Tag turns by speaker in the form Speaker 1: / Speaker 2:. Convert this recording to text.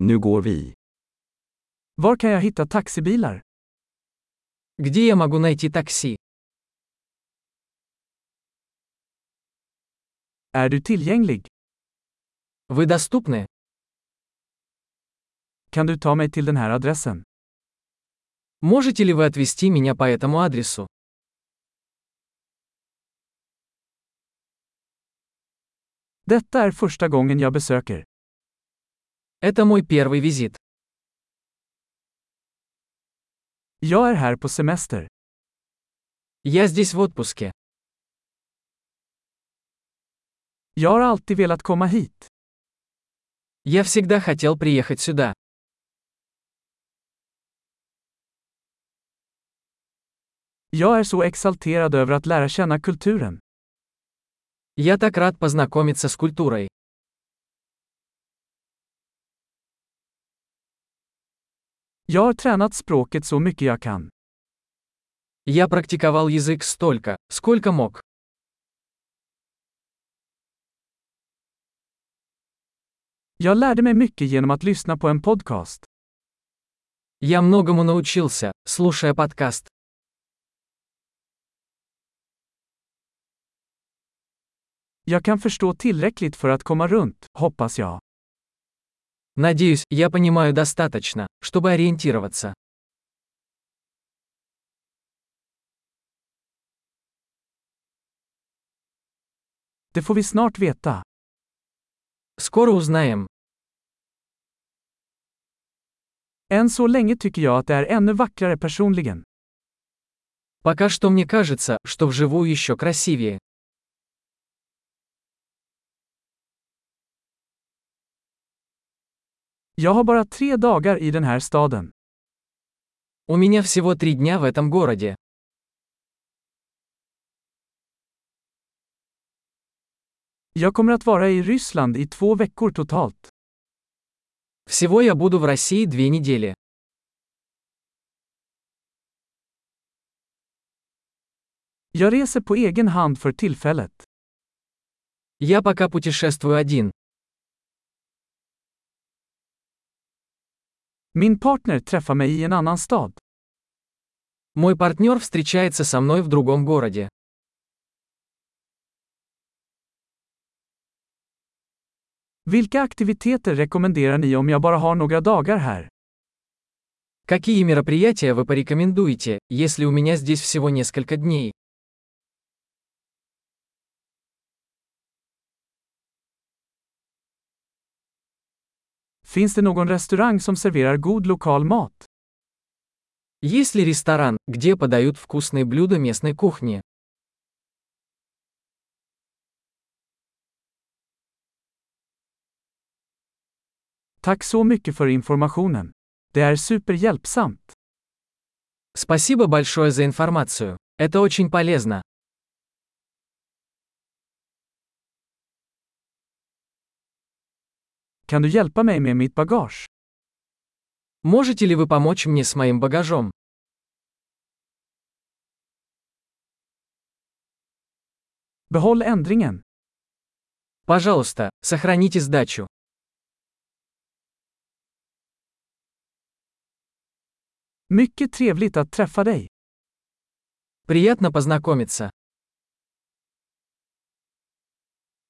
Speaker 1: Nu går vi.
Speaker 2: Var kan jag hitta taxibilar?
Speaker 3: Где я могу найти такси?
Speaker 2: Är du tillgänglig?
Speaker 3: Вы доступны?
Speaker 2: Kan du ta mig till den här adressen?
Speaker 3: Можете ли вы отвезти меня по этому адресу?
Speaker 2: Detta är första gången jag besöker.
Speaker 3: Это мой первый визит.
Speaker 2: Jag är här på semester.
Speaker 3: Я здесь в отпуске.
Speaker 2: Jag har alltid velat komma hit.
Speaker 3: Я всегда хотел приехать сюда.
Speaker 2: Jag är så exalterad över att lära känna kulturen.
Speaker 3: Я так рад познакомиться с культурой.
Speaker 2: Jag har tränat språket så mycket jag kan.
Speaker 3: Я практиковал язык столько, сколько мог.
Speaker 2: Jag lärde mig mycket genom att lyssna på en podcast.
Speaker 3: Я многому научился, слушая подкаст.
Speaker 2: Jag kan förstå tillräckligt för att komma runt, hoppas jag.
Speaker 3: Надеюсь, я понимаю достаточно, чтобы ориентироваться.
Speaker 2: Det får vi snart veta.
Speaker 3: Скоро узнаем.
Speaker 2: Än så länge tycker jag att det är ännu vackrare personligen.
Speaker 3: Пока что мне кажется, что вживую еще красивее.
Speaker 2: Jag har bara tre dagar i den här staden.
Speaker 3: У меня всего три дня в этом городе.
Speaker 2: Jag kommer att vara i Ryssland i två veckor totalt.
Speaker 3: Всего я буду в России две недели.
Speaker 2: Jag reser på egen hand för tillfället.
Speaker 3: Я пока путешествую один.
Speaker 2: Min partner träffar mig i en annan stad.
Speaker 3: Мой партнер встречается со мной в другом городе.
Speaker 2: Vilka aktiviteter rekommenderar ni om jag bara har några dagar här?
Speaker 3: Какие мероприятия вы порекомендуете, если у меня здесь всего несколько дней?
Speaker 2: Finns det någon restaurang som serverar god lokal mat?
Speaker 3: Есть ли ресторан, где подают вкусные блюда местной кухни?
Speaker 2: Tack så mycket för informationen. Det är superhjälpsamt.
Speaker 3: Спасибо большое за информацию. Это очень полезно.
Speaker 2: Kan du hjälpa mig med mitt bagage?
Speaker 3: Можете ли вы помочь мне с моим багажом?
Speaker 2: Behåll ändringen.
Speaker 3: Пожалуйста, сохраните сдачу.
Speaker 2: Mycket trevligt att träffa dig.
Speaker 3: Приятно познакомиться.